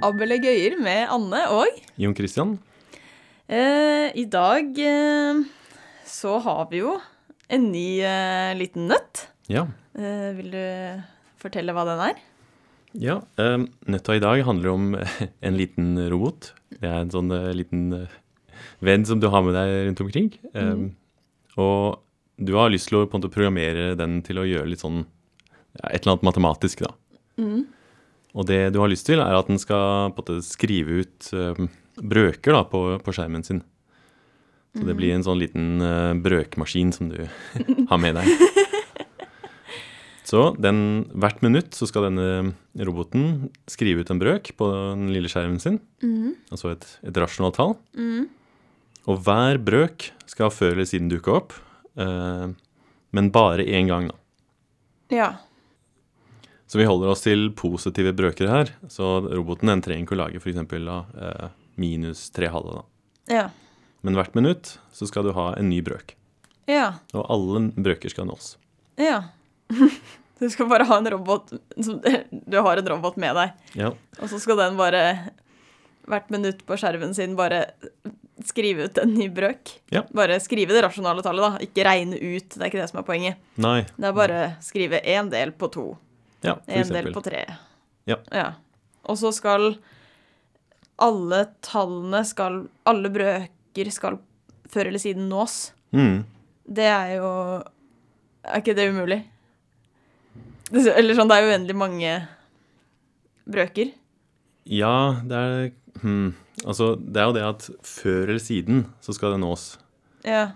Fabel eh, og gøyer med Anne og Jon Christian, eh, I dag eh, så har vi jo en ny eh, liten nøtt. ja. Eh, vil du fortelle hva den er? ja eh, nøtta i dag handler om en liten robot. Det er en sånn eh, liten eh, venn som du har med deg rundt omkring. Eh, Og du har lyst til å på en måte programmere den til å gjøre litt sånn ja, et eller annet matematisk, da. Og det du har lyst til, er at den skal på en måte skrive ut eh, brøker da, på, på skjermen sin. Så det blir en sånn liten eh, brøkmaskin som du har med deg. Så den, hvert minutt så skal denne roboten skrive ut en brøk på den lille skjermen sin. Altså et, et rasjonalt tall. Og hver brøk skal før eller siden dukke opp, eh, men bare én gang, da. Ja. Så vi holder oss til positive brøker her. Så roboten den trenger ikke å lage f.eks. Eh, minus tre halve, da. Ja. Men hvert minutt så skal du ha en ny brøk. Ja. Og alle brøker skal nås. ja. Du skal bare ha en robot som, Du har en robot med deg, Ja. og så skal den bare hvert minutt på skjermen sin bare skrive ut en ny brøk. Ja. Bare skrive det rasjonale tallet, da. Ikke regne ut. Det er ikke det som er poenget. Nei. Det er bare skrive én del på to, Ja, for én del på eksempel. tre. Ja. Og så skal alle tallene skal Alle brøker skal før eller siden nås. Mm. Det er jo Er ikke det umulig? Det- Eller sånn, det er uendelig mange brøker. Ja, det er hmm. Altså, det er jo det at før eller siden så skal det nås. Ja.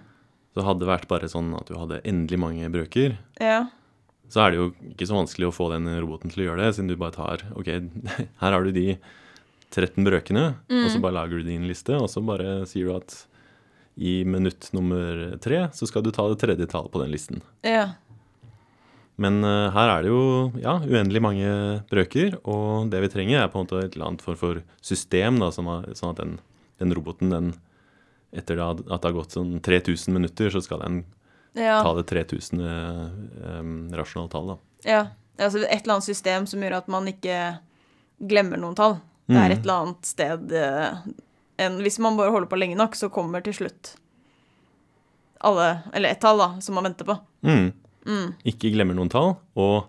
Så hadde det vært bare sånn at du hadde endelig mange brøker, Ja. så er det jo ikke så vanskelig å få den roboten til å gjøre det, siden du bare tar Ok, her har du de 13 brøkene, og så bare lager du din liste, og så bare sier du at i minutt nummer tre så skal du ta det tredje tallet på den listen. Ja. Men eh, her er det jo ja, uendelig mange brøker, og det vi trenger er på en måte et eller annet form for system, da, sånn at- sånn at den, den roboten, den, etter da, at det har gått sånn 3000 minutter, så skal den ta Ja. det 3000 eh, em, rasjonale tallet. Da. ja. Altså et eller annet system som gjør at man ikke glemmer noen tall. Det er et eller annet sted eh, en, Hvis man bare holder på lenge nok, så kommer til slutt alle Eller ett tall, da, som man venter på. Mm. Ikke glemmer noen tall, og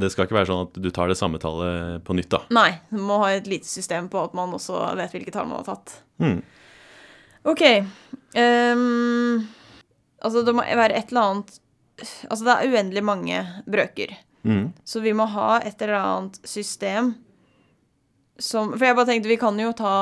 det skal ikke være sånn at du tar det samme tallet på nytt, da. Nei, man må ha et lite system på at man også vet hvilke tall man har tatt. Mm. OK. ehm, altså, det må være et eller annet Altså, det er uendelig mange brøker. Mm. Så vi må ha et eller annet system som For jeg bare tenkte, vi kan jo ta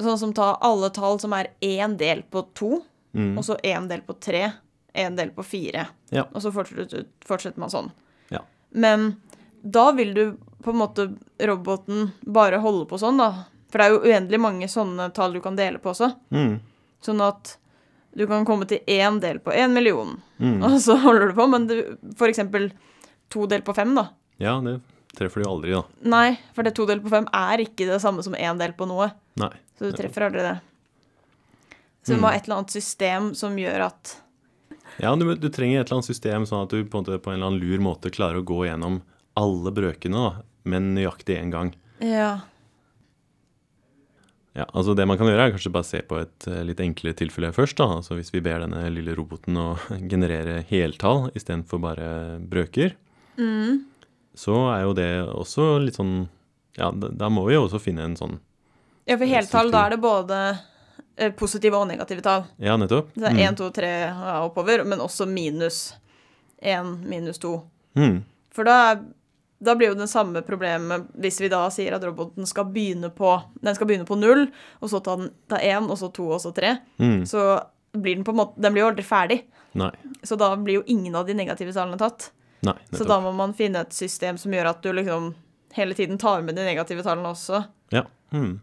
sånn som ta alle tall som er én del på to, Mm. og så én del på tre, én del på fire. Ja. Og så fortsetter, fortsetter man sånn. Ja. Men da vil du på en måte roboten bare holde på sånn, da. For det er jo uendelig mange sånne tall du kan dele på også. Mm. Sånn at du kan komme til én del på én million, Mm. og så holder du på. Men du, for eksempel to del på fem, da. Ja, det treffer du jo aldri, da. Nei, for det to del på fem er ikke det samme som én del på noe. Nei. Så du treffer aldri det. Så du må ha et eller annet system som gjør at Ja, du, du trenger et eller annet system sånn at du på en, måte, på en eller annen lur måte klarer å gå gjennom alle brøkene, da, men nøyaktig én gang. Ja. Ja, altså Det man kan gjøre, er kanskje bare se på et eh, litt enklere tilfelle først. da, altså Hvis vi ber denne lille roboten å generere heltall istedenfor bare brøker, Mm. så er jo det også litt sånn Ja, da, da må vi jo også finne en sånn Ja, for heltall, da er det både eh, positive og negative tall. Ja, nettopp. Så det er 1, 2, 3 ja, oppover, men også minus 1, minus 2. Mm. For da, da blir jo det samme problemet hvis vi da sier at roboten skal begynne på Den skal begynne på null, og så ta den- ta én, og så to, og så tre. Mm. Så blir den på en måte Den blir jo aldri ferdig. Nei. Så da blir jo ingen av de negative tallene tatt. Nei, Så nettopp. da må man finne et system som gjør at du liksom hele tiden tar med de negative tallene også. Ja. Mm.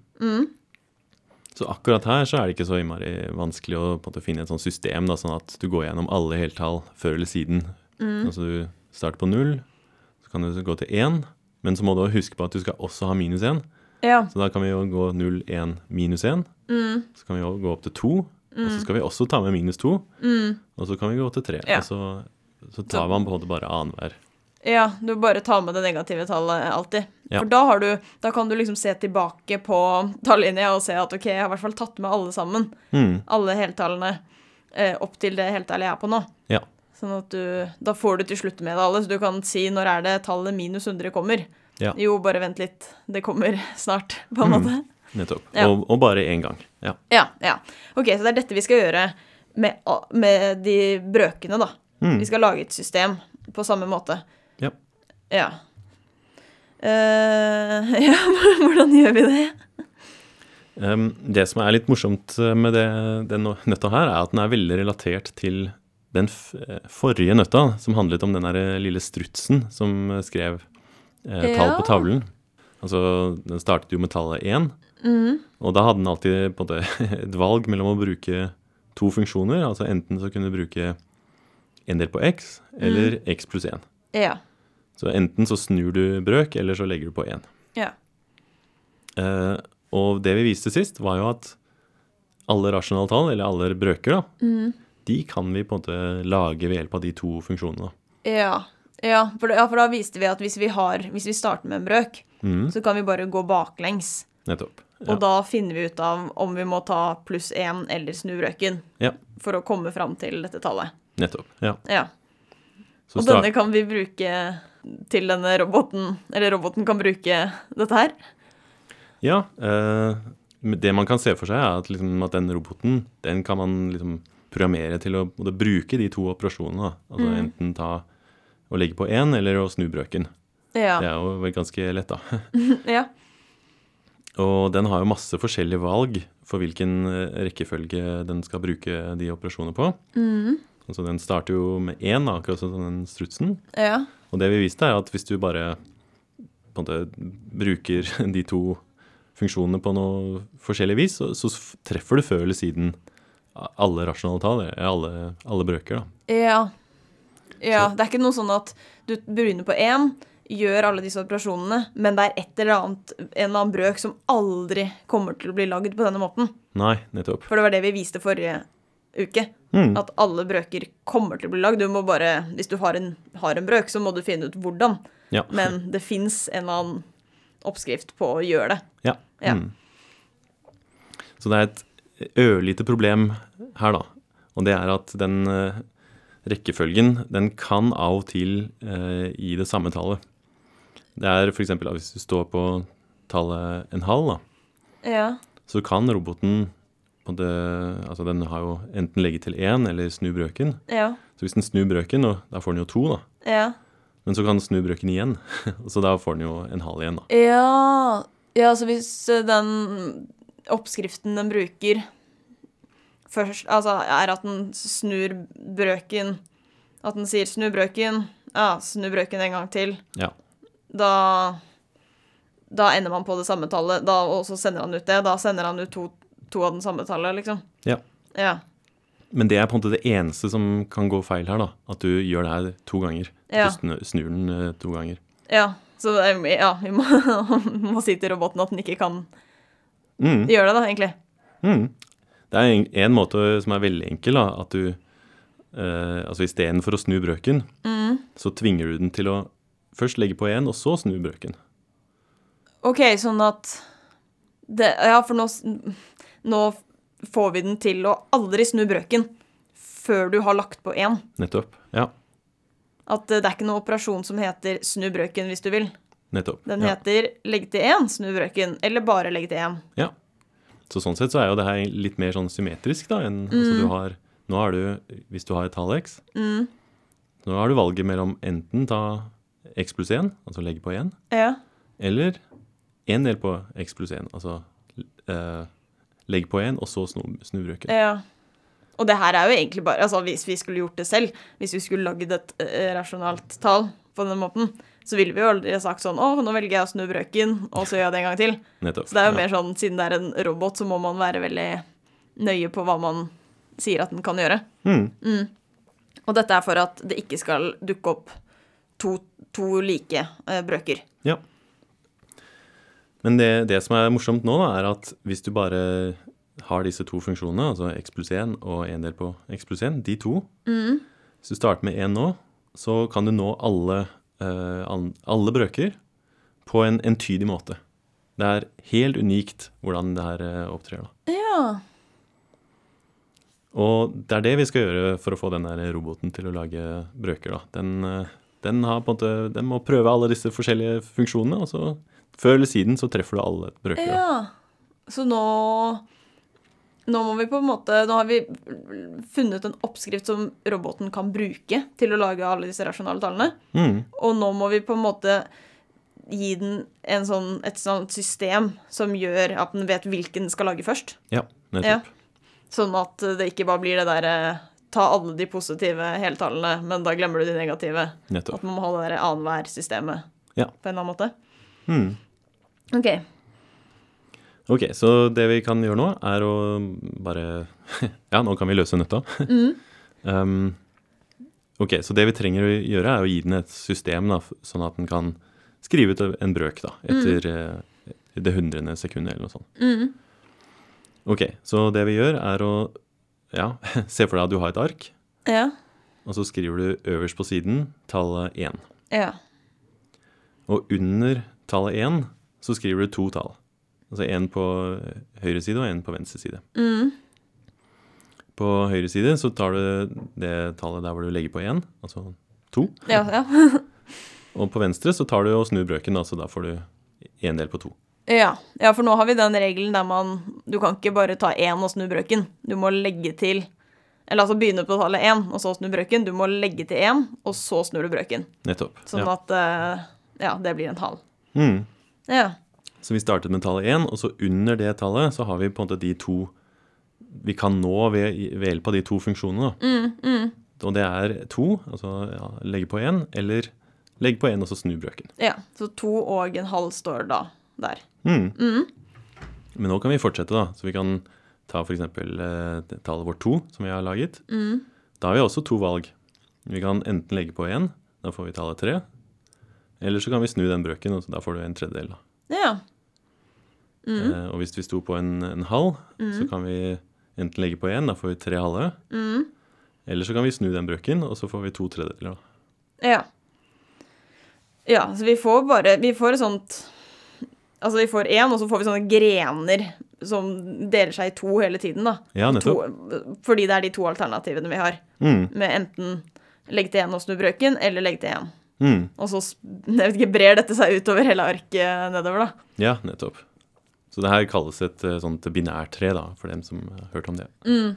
Så akkurat her så er det ikke så innmari vanskelig å på en måte finne et sånt system, da, sånn at du går gjennom alle heltall før eller siden. Altså du starter på null, så kan du gå til én, men så må du også huske på at du skal også ha minus én. Ja. Så da kan vi jo gå null, én, minus én. Så kan vi jo gå opp til to, og så skal vi også ta med minus to. Og så kan vi gå til tre. Ja. Og så, så tar man på en måte bare annenhver. Ja, du bare tar med det negative tallet alltid. Ja. For da, har du, da kan du liksom se tilbake på tallinja og se at ok, jeg har i hvert fall tatt med alle sammen. Mm, Alle heltallene eh, opp til det heltallet jeg er på nå. ja. Sånn at du, da får du til slutt med det alle, så du kan si når er det tallet minus 100 kommer. Ja. Mm. Jo, bare vent litt, det kommer snart, på en måte. Nettopp. Ja. Og, og bare én gang. Ja. Ja, ja. Ok, så det er dette vi skal gjøre med, a- med de brøkene, da. Mm. Vi skal lage et system på samme måte. Ja. Ja. Eh, ja, hvordan gjør vi det? Um, det som er litt morsomt eh, med det, den nøtta her, er at den er veldig relatert til den f eh, forrige nøtta, som handlet om den der eh, lille strutsen som skrev eh, tall Ja. på tavlen. Altså, den startet jo med tallet 1, og da hadde den alltid på en måte, et valg mellom å bruke to funksjoner, altså enten så kunne du bruke en del på x, eller x pluss 1. Ja. Så enten så snur du brøk, eller så legger du på 1. Ja. Eh, og det vi viste sist, var jo at alle rasjonale tall, eller alle brøker, da, Mm. de kan vi på en måte lage ved hjelp av de to funksjonene. da. Ja. Ja for, da- ja, for da viste vi at hvis vi, har, hvis vi starter med en brøk, Mhm. så kan vi bare gå baklengs. Nettopp. Og Ja. da finner vi ut av om vi må ta pluss én eller snu brøken ja, for å komme fram til dette tallet. nettopp. Ja. Ja. Så og stra- denne kan vi bruke til denne roboten, eller roboten kan bruke dette her. ja eh, men det man kan se for seg, er at, liksom, at den roboten den kan man liksom programmere til å på en måte bruke de to operasjonene. Da. Altså Mm. enten ta og legge på én, eller å snu brøken. Ja. Det Ja. er jo vel ganske lett, da. ja. Og den har jo masse forskjellige valg for hvilken eh, rekkefølge den skal bruke de operasjonene på. Mm. Altså den starter jo med én, da, akkurat som den strutsen. ja. Og det vi viste, er at hvis du bare på en måte, bruker de to funksjonene på noe forskjellig vis, så, så f- treffer du før eller siden a- alle rasjonale tall, eller alle, alle brøker, da. Ja. ja. Det er ikke noe sånn at du begynner på én, gjør alle disse operasjonene, men det er et eller annet, en eller annen brøk som aldri kommer til å bli lagd på denne måten. Nei, nettopp. For det var det vi viste forrige uke. Mm. At alle brøker kommer til å bli lagd. Du må bare, hvis du har en, har en brøk, så må du finne ut hvordan. Ja. Men det fins en eller annen oppskrift på å gjøre det. Ja. Ja. Mm. Så det er et ørlite problem her, da. Og det er at den eh, rekkefølgen, den kan av og til eh, gi det samme tallet. Det er f.eks. hvis du står på tallet en halv, da, Ja. så kan roboten på det, altså Den har jo enten legge til én eller snu brøken. Ja. Så hvis den snur brøken, og da får den jo to, da. Ja. Men så kan den snu brøken igjen, og så da får den jo en halv igjen, da. Ja, ja altså hvis eh, den oppskriften den bruker først, altså er at den snur brøken, at den sier snu brøken, ja, snu brøken en gang til, Ja. da, da ender man på det samme tallet, da, og så sender han ut det, da sender han ut to, to av den samme tallet, liksom. ja. Ja, Men det er på en måte det eneste som kan gå feil her, da. At du gjør det her to ganger. At Ja. Du snu- snur den eh, to ganger. ja. Så det er, ja, vi må, må si til roboten at den ikke kan Mm. gjøre det da, egentlig. Mm. Det er en, en måte som er veldig enkel, da. At du eh, Altså istedenfor å snu brøken, Mm. så tvinger du den til å først legge på én, og så snu brøken. Ok, sånn at det, Ja, for nå, s- nå får vi den til å aldri snu brøken før du har lagt på én. Nettopp. Ja. At eh, det er ikke noen operasjon som heter 'snu brøken hvis du vil'. Nettopp. Den ja. heter 'legg til én, snu brøken', eller bare 'legg til én'. Ja. Så sånn sett så er jo det her litt mer sånn symmetrisk, da. Enn, Mm. altså du har, nå har du, hvis du har et tall x, nå har du valget mellom enten ta x pluss 1, altså legge på 1, Ja. Eller en del på x pluss 1. Altså eh, legg på 1, og så snu, snu brøken. ja. Og det her er jo egentlig bare altså Hvis vi skulle gjort det selv, hvis vi skulle lagd et eh, rasjonalt tall på den måten, så ville vi jo aldri ha sagt sånn 'Å, nå velger jeg å snu brøken', og så gjør jeg det en gang til'. Nettopp. Så det er jo ja. mer sånn, siden det er en robot, så må man være veldig nøye på hva man sier at den kan gjøre. Mm. Og dette er for at det ikke skal dukke opp to, to like eh, brøker. Ja. Men det, det som er morsomt nå, da, er at hvis du bare har disse to funksjonene, altså x pluss 1 og en del Mm. på x pluss 1, de to Hvis du starter med 1 nå, så kan du nå alle eh, an- alle brøker på en entydig måte. Det er helt unikt hvordan det her eh, opptrer. da. Ja. Og det er det vi skal gjøre for å få den der roboten til å lage brøker. Da. Den, eh, den, har på en måte, den må prøve alle disse forskjellige funksjonene, og så før eller siden så treffer du alle brøker. Da. ja. Så nå Nå må vi på en måte Nå har vi funnet en oppskrift som roboten kan bruke til å lage alle disse rasjonale tallene. Mm, Og nå må vi på en måte gi den en sånn, et sånt system som gjør at den vet hvilken den skal lage først. ja, Ja. nettopp. Sånn at det ikke bare blir det derre ta alle de positive heltallene, men da glemmer du de negative. nettopp. At man må ha det derre annenhver-systemet Ja. på en eller annen måte. Mm. OK. Ok, så det vi kan gjøre nå, er å bare Ja, nå kan vi løse nøtta. um, ok, så det vi trenger å gjøre, er å gi den et system, da, f- sånn at den kan skrive ut en brøk da, etter eh, det hundrende sekundet eller noe sånt. Mm. Ok, så det vi gjør, er å Ja, se for deg at du har et ark, Ja. og så skriver du øverst på siden tallet 1. Ja. Og under tallet 1 så skriver du to tall. Altså én på høyre side og én på venstre side. På høyre side så tar du det tallet der hvor du legger på 1, altså 2. Ja. ja. Og på venstre så tar du og snur brøken, da, så da får du én del på to. Ja, ja, for nå har vi den regelen der man Du kan ikke bare ta én og snu brøken. Du må legge til Eller altså begynne på tallet én, og så snu brøken. Du må legge til én, og så snur du brøken. Nettopp. Sånn ja. at eh, Ja, det blir en halv. Mm. Ja. Så vi startet med tallet 1, og så under det tallet så har vi på en måte de to vi kan nå ved, ved hjelp av de to funksjonene. Da. Og det er to, altså ja, legge på én, eller legge på én og så snu brøken. ja. Så to og en halv står da der. Mm. Men nå kan vi fortsette, da. Så vi kan ta f.eks. Eh, tallet vårt 2, som vi har laget. Da har vi også to valg. Vi kan enten legge på 1, da får vi tallet 3. Eller så kan vi snu den brøken, og så da får du en tredjedel. Da. Ja. Eh, og hvis vi sto på en, en halv, så kan vi enten legge på 1, da får vi tre halve. Eller så kan vi snu den brøken, og så får vi to tredjedeler. Da. Ja. Ja, så vi får bare Vi får et sånt Altså, vi får én, og så får vi sånne grener som deler seg i to hele tiden, da. Ja, to, nettopp. fordi det er de to alternativene vi har. Mm, med enten legg til én og snu brøken, eller legg til én. mm. Og så sp- jeg vet ikke, brer dette seg utover hele arket nedover, da. Ja, nettopp. Så det her kalles et eh, sånt binærtre, da, for dem som har hørt om det. Mm.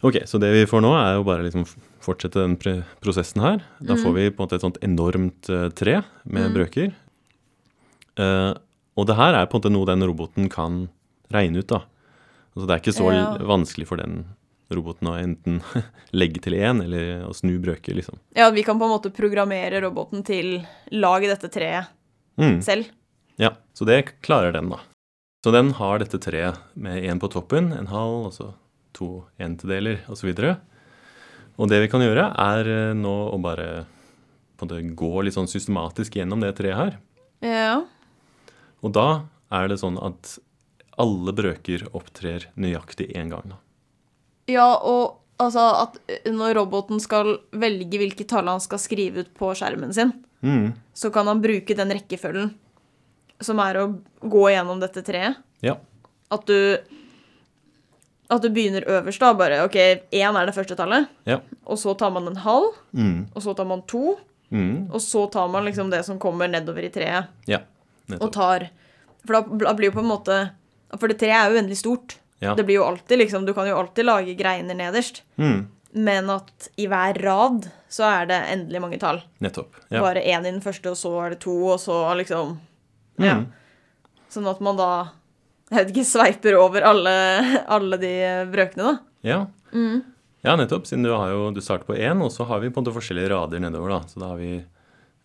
Ok, så det vi får nå, er jo bare liksom f- fortsette den pre prosessen her. Da får vi på en måte et sånt enormt eh, tre med brøker. Eh, og det her er på en måte noe den roboten kan regne ut, da. Altså det er ikke så l- Ja. vanskelig for den roboten å enten legge til én eller å snu brøker, liksom. Ja, vi kan på en måte programmere roboten til lag dette treet Mm. selv. Ja, så det klarer den, da. Så den har dette treet med én på toppen, en halv, og så to entedeler osv. Og det vi kan gjøre, er eh, nå å bare på en måte gå litt sånn systematisk gjennom det treet her. Ja. Og da er det sånn at alle brøker opptrer nøyaktig én gang. da. ja, og altså at når roboten skal velge hvilke tall han skal skrive ut på skjermen sin, Mm. så kan han bruke den rekkefølgen som er å gå gjennom dette treet. Ja. At du At du begynner øverst, da. Bare OK, én er det første tallet, Ja. og så tar man en halv. Mm. Og så tar man to, Mm. og så tar man liksom det som kommer nedover i treet, Ja. og Nettopp. tar For da, da blir jo på en måte For det treet er jo uendelig stort. Ja. Det blir jo alltid liksom Du kan jo alltid lage greiner nederst, Mm. men at i hver rad så er det endelig mange tall. Nettopp. Ja. Bare én i den første, og så er det to, og så liksom Ja. Mm. Sånn at man da jeg vet ikke, sveiper over alle, alle de brøkene, da. Ja. ja, nettopp. Siden du, har jo, du starter på én, og så har vi på en måte forskjellige rader nedover. da. Så da har vi,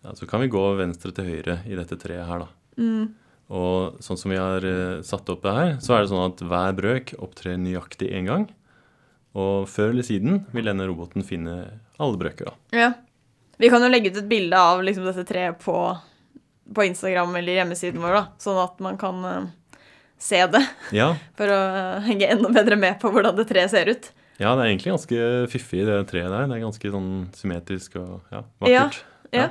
ja, så kan vi gå venstre til høyre i dette treet her, da. Og sånn som vi har eh, satt opp det her, så er det sånn at hver brøk opptrer nøyaktig én gang. Og før eller siden vil denne roboten finne alle brøker, da. Ja. Vi kan jo legge ut et bilde av liksom dette treet på, på Instagram eller hjemmesiden vår, da, sånn at man kan eh, se det. Ja, For å eh, henge enda bedre med på hvordan det treet ser ut. ja det er egentlig ganske fiffig, det treet der. Det er ganske sånn symmetrisk og Ja, ja, vakkert. ja.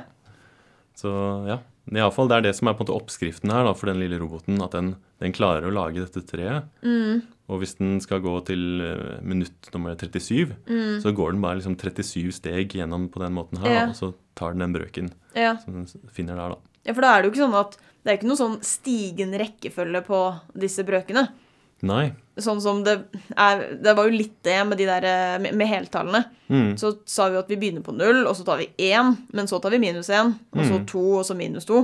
Så ja. Men i alle fall, det er det som er på en måte oppskriften her da, for den lille roboten. At den, den klarer å lage dette treet. Mm. Og hvis den skal gå til eh, minutt nummer 37, så går den bare liksom 37 steg gjennom på den måten her. Mm. Ja. Da, og så tar den den brøken Ja. som den s- finner der, da. ja, for da er det jo ikke sånn at det er ikke noe sånn stigen rekkefølge på disse brøkene. Nei. Sånn som det er Det var jo litt det med de der eh, med, med heltallene. Mm. Så sa vi at vi begynner på null, og så tar vi én, men så tar vi minus én, og Mm. så to, og så minus to.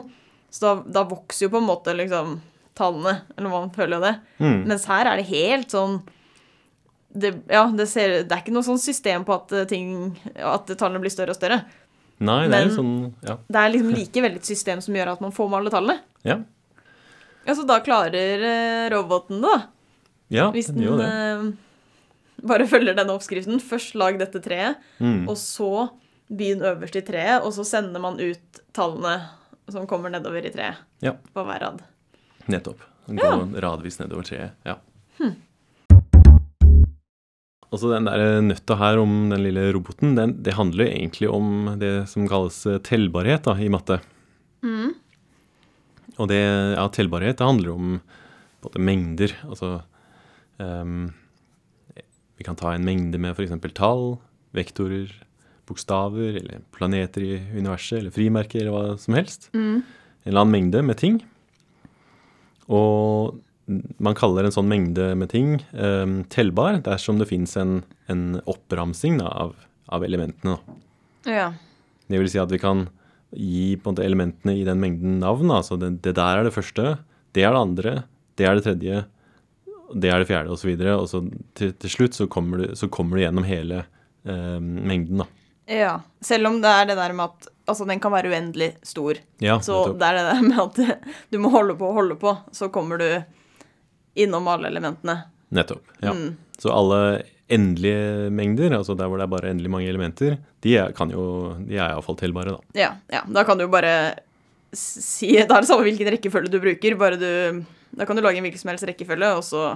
Så da, da vokser jo på en måte liksom tallene, eller hva man føler jo det. Mm. Mens her er det helt sånn det, ja, det, ser, det er ikke noe sånn system på at eh, ting At tallene blir større og større. Nei, det er Men- litt sånn Ja. Det er liksom likevel et system som gjør at man får med alle tallene. Ja, Ja, så da klarer eh, roboten det, da. ja Hvis den den gjør jo det. eh, bare følger denne oppskriften. Først lag dette treet, Mm. eh, og så begynn øverst i treet, og så sender man ut tallene som kommer nedover i treet Ja. på hver rad. Nettopp. Gå radvis nedover treet. Ja. Altså den der nøtta her om den lille roboten, den, det handler jo egentlig om det som kalles eh, tellbarhet da, i matte. Og det, ja, tellbarhet, det handler om på en måte mengder. Altså ehm, Vi kan ta en mengde med f.eks. tall, vektorer, bokstaver, eller planeter i universet, eller frimerker, eller hva som helst. En eller annen mengde med ting. Og man kaller en sånn mengde med ting eh, tellbar dersom det fins en, en oppramsing da, av, av elementene. Da. Ja. Det vil si at vi kan gi på en måte elementene i den mengden navn. da. Altså det, det der er det første, det er det andre, det er det tredje, det er det fjerde osv. Og så til, til slutt så kommer, du, så kommer du gjennom hele eh, mengden, da. Ja. Selv om det er det der med at altså, den kan være uendelig stor. Ja, Så nettopp. det er det der med at du må holde på og holde på, så kommer du innom alle elementene. Nettopp. Ja. Mm. Så alle endelige mengder, altså der hvor det er bare endelig mange elementer, de er, kan jo, de er iallfall tellbare, da. Ja, ja. Da kan du jo bare s- si Da er det samme hvilken rekkefølge du bruker, bare du Da kan du lage en hvilken som helst rekkefølge, og så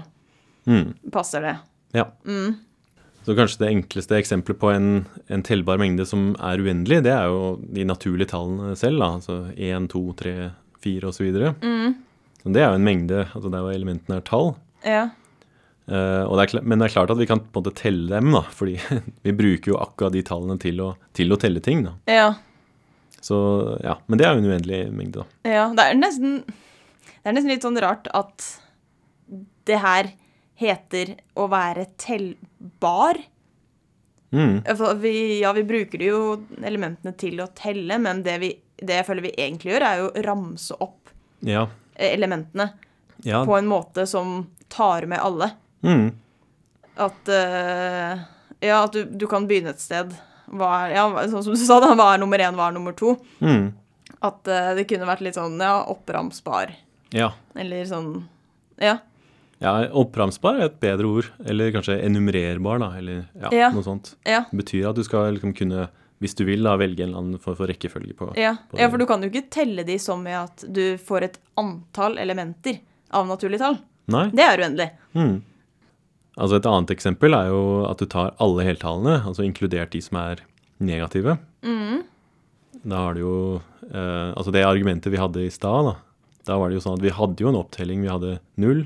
Mm. passer det. Mm. Ja. Så kanskje det enkleste eksempelet på en, en tellbar mengde som er uendelig, det er jo de naturlige tallene selv, da. Altså 1, 2, 3, 4 osv. Så Det er jo en mengde, altså der hvor elementene er tall. Ja. Eh, og det er, kla- men det er klart at vi kan på en måte telle dem, da, fordi vi bruker jo akkurat de tallene til å, til å telle ting. da. Ja. Så ja, Men det er jo en uendelig mengde, da. ja. Det er nesten Det er nesten litt sånn rart at det her heter å være tellbar. Mm, For Vi, ja, vi bruker jo elementene til å telle, men det, vi, det jeg føler vi egentlig gjør, er jo å ramse opp eh, ja. elementene ja. på en måte som tar med alle. Mm, At, eh, ja, at du, du kan begynne et sted. Hva er, ja, sånn som du sa, da, hva er nummer én, hva er nummer to? mm, At eh, det kunne vært litt sånn ja, oppramsbar. ja. Eller sånn Ja. ja. Oppramsbar er et bedre ord. Eller kanskje enumererbar, da. Eller Ja. ja. noe sånt. Ja. Det betyr at du skal liksom kunne, hvis du vil, da, velge en eller annen form for rekkefølge på Ja. ja, for du kan jo ikke telle de som i at du får et antall elementer av naturlige tall. Nei? Det er uendelig. Mm. Altså Et annet eksempel er jo at du tar alle heltallene, altså inkludert de som er negative. Mm. Da har du jo eh, Altså det argumentet vi hadde i stad, da. Da var det jo sånn at vi hadde jo en opptelling. Vi hadde null,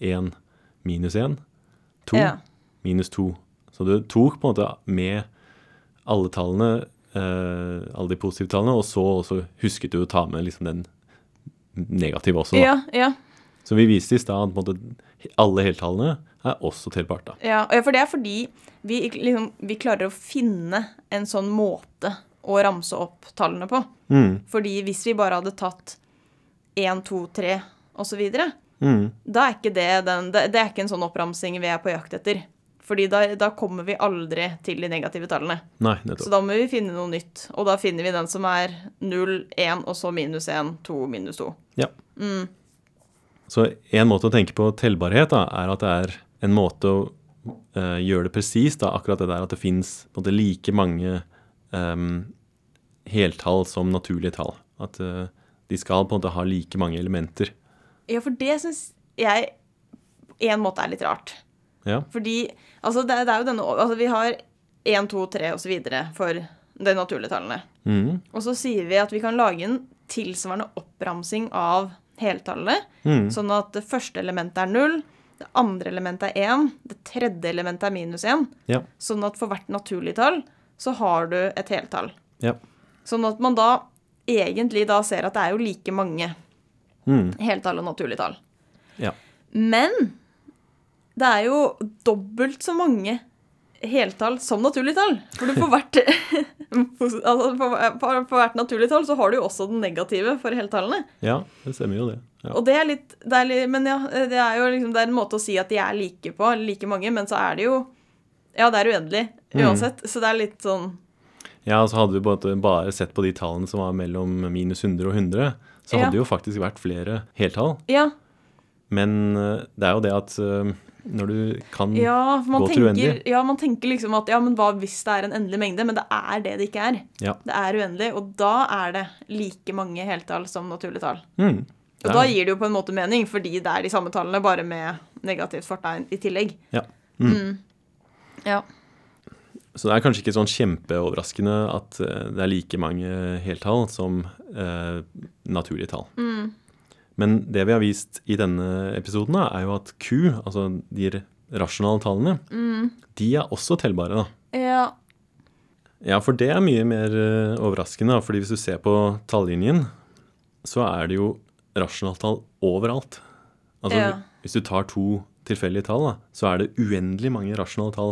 én, minus én, to, Ja. minus to. Så du tok på en måte med alle tallene, eh, alle de positive tallene, og så også husket du å ta med liksom den negative også. Da. Ja, ja. Så vi viste i stad at på en måte, alle heltallene er også tellbart. da. Ja, og ja, for det er fordi vi, ikke- liksom, vi klarer å finne en sånn måte å ramse opp tallene på. Mm, Fordi hvis vi bare hadde tatt 1, 2, 3 osv., mm, da er ikke det, den, det, det er ikke en sånn oppramsing vi er på jakt etter. Fordi da, da kommer vi aldri til de negative tallene. nei, Så nettopp. da må vi finne noe nytt. Og da finner vi den som er 0, 1, og så minus 1, 2, minus 2. Ja. Mm. Så en måte å tenke på tellbarhet da, er at det er en måte å eh, gjøre det presist, da, akkurat det der at det fins like mange em, heltall som naturlige tall. At eh, de skal på en måte ha like mange elementer. Ja, for det syns jeg på en måte er litt rart. Ja, Fordi altså, det, er- det er jo denne altså, Vi har 1, 2, 3 osv. for de naturlige tallene. mm, Og så sier vi at vi kan lage en tilsvarende oppramsing av heltallene. Mm. Sånn at det første elementet er null, det andre elementet er én, det tredje elementet er minus én. Ja. Sånn at for hvert naturlig tall så har du et heltall. Ja. Sånn at man da egentlig da ser at det er jo like mange Mm. heltall og naturligtall. Ja. Men det er jo dobbelt så mange heltall som naturligtall. For du på hvert, altså på, på, på hvert naturligtall så har du jo også den negative for heltallene. ja, det stemmer jo det. Ja. Og det er litt, det er litt Men ja, det er jo liksom, det er en måte å si at de er like på, eller like mange, men så er det jo Ja, det er uendelig Mm. uansett. Så det er litt sånn ja, så hadde vi bare, bare sett på de tallene som var mellom minus 100 og 100, så Ja. hadde det jo faktisk vært flere heltall. Ja, Men eh, det er jo det at eh, når du kan ja, for man Mm. Gå til tenker, uendelig. ja, man tenker liksom at ja, men hva hvis det er en endelig mengde? Men det er det det ikke er. Ja. Det er uendelig, og da er det like mange heltall som naturlige tall. Mm. Og Ja. da gir det jo på en måte mening, fordi det er de samme tallene, bare med negativt fortegn i tillegg. Ja. Ja. Så det er kanskje ikke sånn kjempeoverraskende at eh, det er like mange heltall som eh, naturlige tall. Men det vi har vist i denne episoden, da, er jo at Q, altså de r- rasjonale tallene, de er også tellbare. da. ja. Ja, for det er mye mer eh, overraskende, da, fordi hvis du ser på tallinjen, så er det jo rasjonaltall overalt. Altså, Ja. Hvis du tar to tilfeldige tall, da, så er det uendelig mange rasjonale tall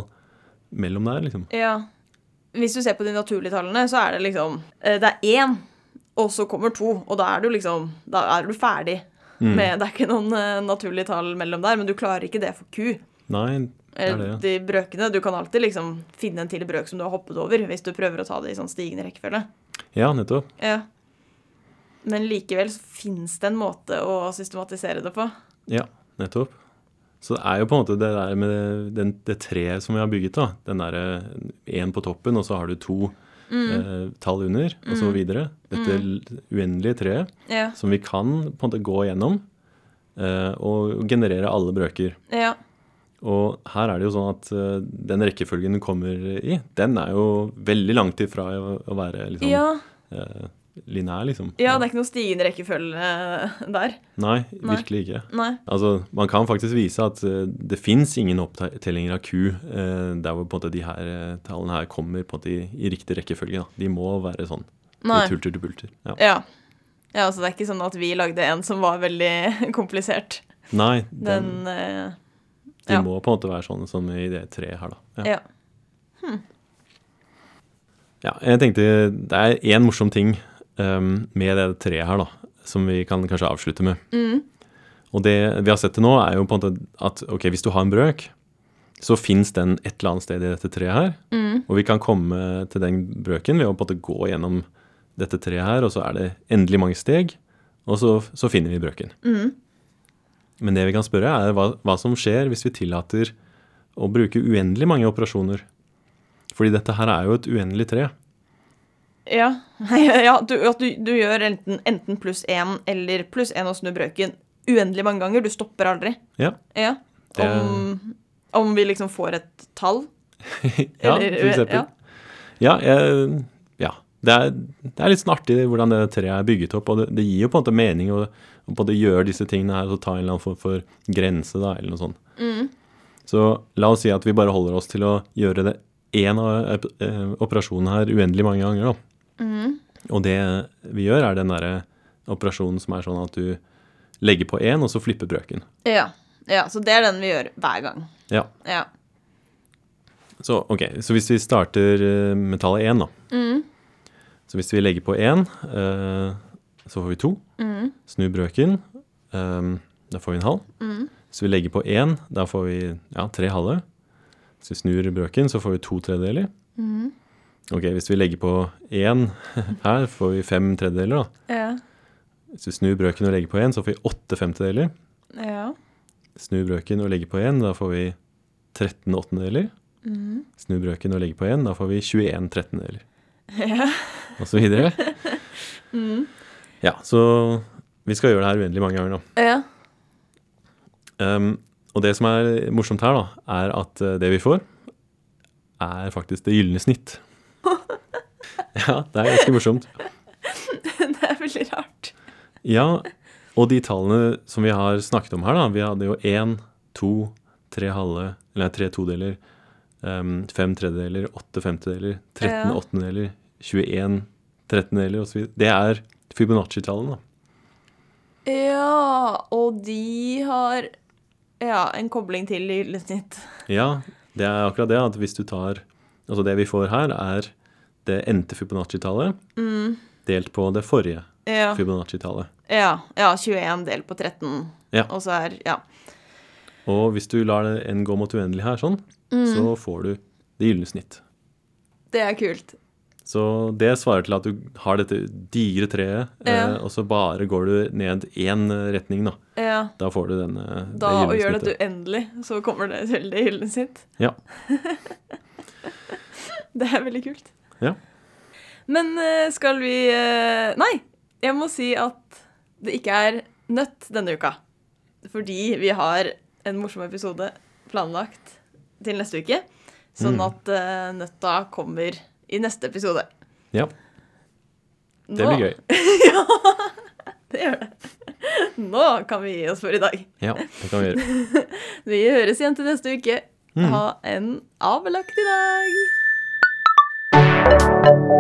mellom der. liksom. Ja. Hvis du ser på de naturlige tallene, så er det liksom eh, Det er én, og så kommer to, og da er du liksom Da er du ferdig. Mm. Med, det er ikke noen eh, naturlige tall mellom der, men du klarer ikke det for ku. Nei, det er det. Eller de brøkene. Du kan alltid liksom finne en til brøk som du har hoppet over, hvis du prøver å ta det i sånn stigende rekkefølge. Ja, nettopp. Ja. Men likevel så fins det en måte å systematisere det på. Ja, nettopp. Så det er jo på en måte det der med det, den, det treet som vi har bygget, da. Den derre én på toppen, og så har du to eh, tall under, og så videre. Dette l- uendelige treet Ja. som vi kan på en måte gå gjennom eh, og generere alle brøker. Ja. Og her er det jo sånn at eh, den rekkefølgen du kommer i, den er jo veldig langt ifra å, å være liksom, Ja. eh, lineær, liksom. ja, det er ikke noe stigende rekkefølge eh, der. Nei, virkelig ikke. Nei. Altså, Man kan faktisk vise at eh, det fins ingen opptellinger av Q eh, der hvor på en måte de her eh, tallene her kommer på en måte i, i riktig rekkefølge. da. De må være sånn. Nei. I tulter til bulter. Ja. Ja. ja, altså det er ikke sånn at vi lagde en som var veldig komplisert. Nei, den, Den, eh, de ja. må på en måte være sånn som i det treet her, da. ja. Ja, jeg tenkte det er én morsom ting ehm, med det treet her, da, som vi kan kanskje avslutte med. Og det vi har sett til nå, er jo på en måte at ok, hvis du har en brøk, så fins den et eller annet sted i dette treet her. Og vi kan komme til den brøken ved å på en måte gå gjennom dette treet her, og så er det endelig mange steg, og så, så finner vi brøken. Men det vi kan spørre, er hva, hva som skjer hvis vi tillater å bruke uendelig mange operasjoner. Fordi dette her er jo et uendelig tre. Ja, ja du, at du, du gjør enten, enten pluss én eller pluss én og snur brøken uendelig mange ganger. Du stopper aldri. Ja. Ja. Det- Om, om vi liksom får et tall. Ja, Eller- for eksempel. Ja, jeg, ja. Det, er, det er litt sånn artig hvordan det treet er bygget opp, og det, det gir jo på en måte mening å, å både gjøre disse tingene her og ta en eller annen form for grense, da, eller noe sånt. Så la oss si at vi bare holder oss til å gjøre det én av eh, eh, operasjonene her uendelig mange ganger, da. Og det vi gjør, er den derre operasjonen som er sånn at du legger på én, og så flipper brøken. Ja. ja. ja. Så det er den vi gjør hver gang. Ja. Ja. Så, ok, så hvis vi starter eh, med tallet 1 da. Så hvis vi legger på 1, eh, så får vi 2. Snu brøken, eh, da får vi en halv. Så vi legger på 1, da får vi ja, 3 halve. Så vi snur brøken, så får vi 2 tredjedeler. Ok, hvis vi legger på 1 her, får vi 5 tredjedeler da. Ja. Hvis vi snur brøken og legger på 1, så får vi 8 femtedeler. Ja. Snu brøken og legge på 1, da får vi 13 åttendedeler. Snu brøken og legge på 1, da får vi 21 trettendeler. Og så videre. Ja, så vi skal gjøre det her uendelig mange ganger nå. ja. Um, og det som er morsomt her, da, er at eh, det vi får, er faktisk det gylne snitt. Ja, det er ganske morsomt. Det er veldig rart. Ja, og de tallene som vi har snakket om her, da. Vi hadde jo én, to, tre halve, eller tre todeler, ehm, fem tredjedeler, åtte femtedeler, 13 Ja. åttendeler, 21 trettendeler osv. Det er Fibonacci-tallene, da. Ja, og de har ja, en kobling til i lydsnitt. Ja, det er akkurat det. At hvis du tar Altså det vi får her, er det endte Fibonacci-tallet delt på det forrige Mm. Ja, Fibonacci-tallet. ja, ja, 21 delt på 13, Ja. og så er Ja. Og hvis du lar det en gå mot uendelig her, sånn, Mm. så får du det gylne snitt. Det er kult. Så det svarer til at du har dette digre treet, Ja. eh, og så bare går du ned én eh, retning, da. Ja. Da får du den, eh, Da, og det gjør gylne det snittet. uendelig, så kommer det til det gylne sitt. Ja. Det er veldig kult. Ja. Men eh, skal vi eh, Nei, jeg må si at det ikke er nøtt denne uka. Fordi vi har en morsom episode planlagt til neste uke. Sånn Mm. at eh, nøtta kommer i neste episode. ja. Det blir gøy. Det gjør det. Nå kan vi gi oss for i dag. Ja, det kan vi gjøre. Vi høres igjen til neste uke. Mm. Ha en avbelagt i dag.